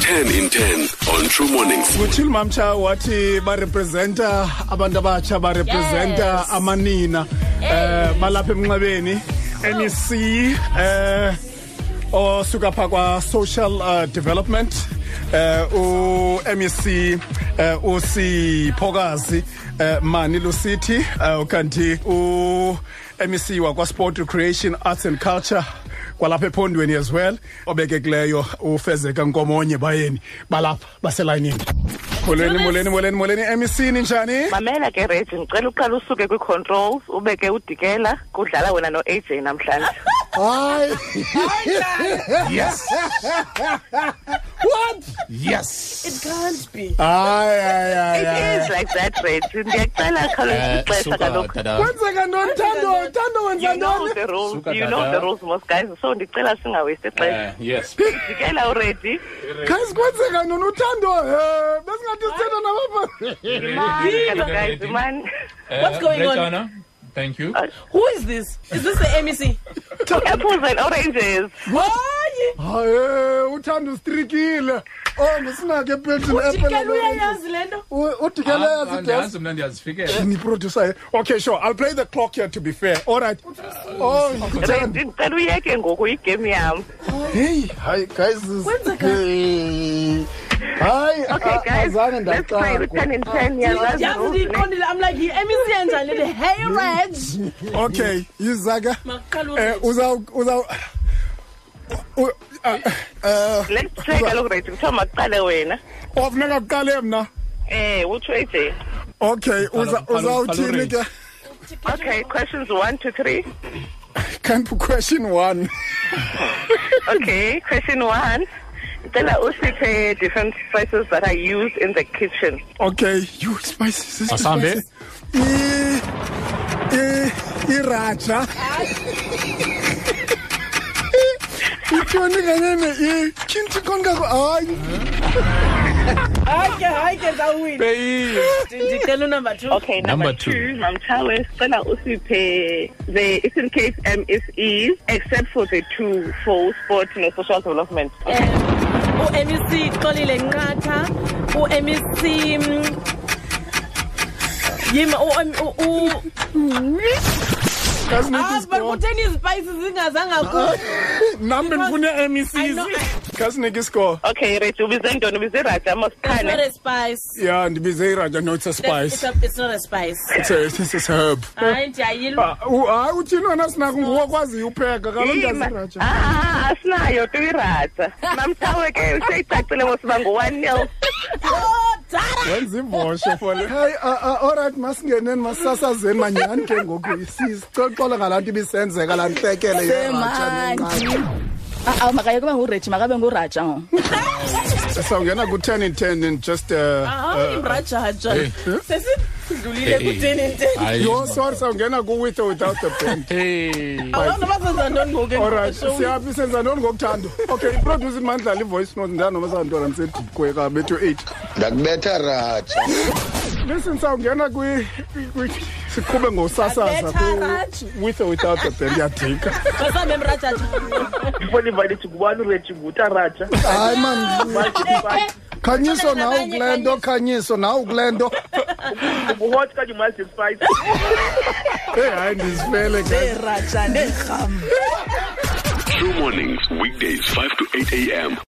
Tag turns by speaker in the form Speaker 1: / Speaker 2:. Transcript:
Speaker 1: 10 in 10 on True Mornings.
Speaker 2: uthile mamtsha wathi barepresenta abantu abatsha barepresenta
Speaker 3: Yes.
Speaker 2: amanina um balapha emnxebeni nec um osuka phaa kwa-social uh, development um u-mec um usiphokazi um mani lusithi um kanti u-mec wakwasport recreation arts and culture kwalapha ephondweni as well obekekileyo ufezeka nkomonye bayeni balapha baselayinini molweni molweni molweni molweni E mec ninjani
Speaker 4: mamela ke regi ndicela uqala usuke kwi-controls ubeke udikela kudlala wena no-aj namhlanje
Speaker 2: hayi
Speaker 5: Yes.
Speaker 2: what
Speaker 5: Yes.
Speaker 3: It can't be.
Speaker 2: hayi hayi hayi
Speaker 4: it
Speaker 2: hayi.
Speaker 4: is like that regi ndiyakucela
Speaker 5: Uh,
Speaker 4: khawuleza ixesha kaloku
Speaker 2: kwenzeka ntoni tando tando wenza
Speaker 4: you know
Speaker 2: ntoni
Speaker 4: the rules
Speaker 5: Suka,
Speaker 4: you know
Speaker 5: tata.
Speaker 4: the rules most guys so ndicela singawesti ixesha
Speaker 5: Uh, yes.
Speaker 4: dikela uredi
Speaker 2: guys kwenzeka ntoni uthando um besingathi sithetha nabapha
Speaker 4: hello guys imani
Speaker 3: What's going on?
Speaker 5: Brettana, Uh, Thank you.
Speaker 3: Who is this? Is this the MEC?
Speaker 4: apples and oranges
Speaker 3: Hayi!
Speaker 2: haye uthando ustrikile oh ndisinake
Speaker 3: Ujikela uyayazi le nto?
Speaker 5: Ah,
Speaker 2: udikeleyazi des
Speaker 5: Andazi mna ndiyazifikela.
Speaker 2: niproducer eh? okay sure i'll play the clock here to be fair all right oh
Speaker 4: redi ndicela uyeke ngoku igame yam
Speaker 2: hey hi guys this-
Speaker 3: Kwenzeka-
Speaker 2: Hey. hayi
Speaker 4: okay
Speaker 2: a-
Speaker 4: guys
Speaker 2: Ah, azange
Speaker 4: let's play
Speaker 2: ndaqala Ah.
Speaker 4: u-ten in ten yazazi
Speaker 3: Yazi
Speaker 4: rules ne?
Speaker 3: ndiyiqondile. I'm like, yi-MEC yanjani le? Hey, Reg!
Speaker 2: okay yiza ke
Speaker 3: Makaqala
Speaker 2: Eh,
Speaker 3: uReg.
Speaker 2: uzaw uzaw u- ah, eh
Speaker 4: let's play kaloku redi kuthiwa makuqale wena
Speaker 2: ofuneka kuqale mna
Speaker 4: um utsho aj
Speaker 2: okay uza-
Speaker 5: Qala- qala-
Speaker 2: uzawuthini
Speaker 5: qala
Speaker 2: ke
Speaker 4: okay questions one to three
Speaker 2: can't be question one
Speaker 4: Okay, question one. Then I also say different spices that are used in the kitchen.
Speaker 2: okay you spices is
Speaker 5: Masambe.
Speaker 2: spices. i i iraja ikoni kanye ne i kinti konga hayi
Speaker 3: Hayi ke, hayi ke, ndawina. Ndicela unumber two.
Speaker 4: Okay, number,
Speaker 5: Number two.
Speaker 4: two, Mamchawe. Then I also say the Eastern Cape MSE, except for the two for sport and social development.
Speaker 3: Eh, u-MEC Xolile Nqatha, u-MEC mm, yima u- u- u-
Speaker 2: kazi
Speaker 3: Ah,
Speaker 2: niki
Speaker 3: but
Speaker 2: score
Speaker 3: kutheni izipaisi zingazanga ku-
Speaker 2: nambe ndifune
Speaker 3: I know,
Speaker 2: MECs
Speaker 3: I-
Speaker 2: kazi niki score
Speaker 4: Okay, Rich, ubizendo, ubiziraja,
Speaker 3: It's not
Speaker 4: masikhane.
Speaker 3: a spice.
Speaker 2: yeah ndibize iraja no it's a
Speaker 3: It's
Speaker 2: spice
Speaker 3: a- it's not a spice.
Speaker 2: it's a, it's a herb
Speaker 3: Hayi, ndiyayilwa.
Speaker 2: Ah, u- hayi uthini wena sinako ngokwaziyo upheka kalo
Speaker 4: Yima.
Speaker 2: ndaziraja
Speaker 4: Ah, ah, asinayo tu iraja. Mamchawe ke useyicacile ngosiba ngu-one nil.
Speaker 3: Oh, Tara!
Speaker 2: wenza ivosho fole hayi ah, ah, allright masingeneni masisasazeni manyhani ke ngoku sixoxole ngalaa nto ibisenzeka laa ntlekele yeraja
Speaker 6: Ah, awu makayeke uba nguregi makabe nguraja ngo
Speaker 2: sawungena ku-ten in ten and just uh,
Speaker 3: hayi mrajaja sesidlulile
Speaker 5: Hey.
Speaker 3: kuteninteni
Speaker 2: yo sorry sawungena ku-with or without the band
Speaker 5: Hey.
Speaker 3: abantu abazenza ntoni ngoku
Speaker 2: allright siyaphi senza ntoni ngokuthando okay iproduce mandlala ivoice note ndanoma santwana ndisedikwe bethu eight
Speaker 7: ndakubetha raja
Speaker 2: listen sawungena kwi- kwi- siqhube ngosasaza
Speaker 3: Abetha,
Speaker 2: ku- with or without the band yadika
Speaker 3: basambe mrajaja
Speaker 2: hayi man
Speaker 6: Eh,
Speaker 2: khanyiso nawe kule nto khanyiso nawe kule nto eyi hayi ndizifele guys.
Speaker 3: eraja nerham
Speaker 1: True Mornings, weekdays 5 to 8 a.m.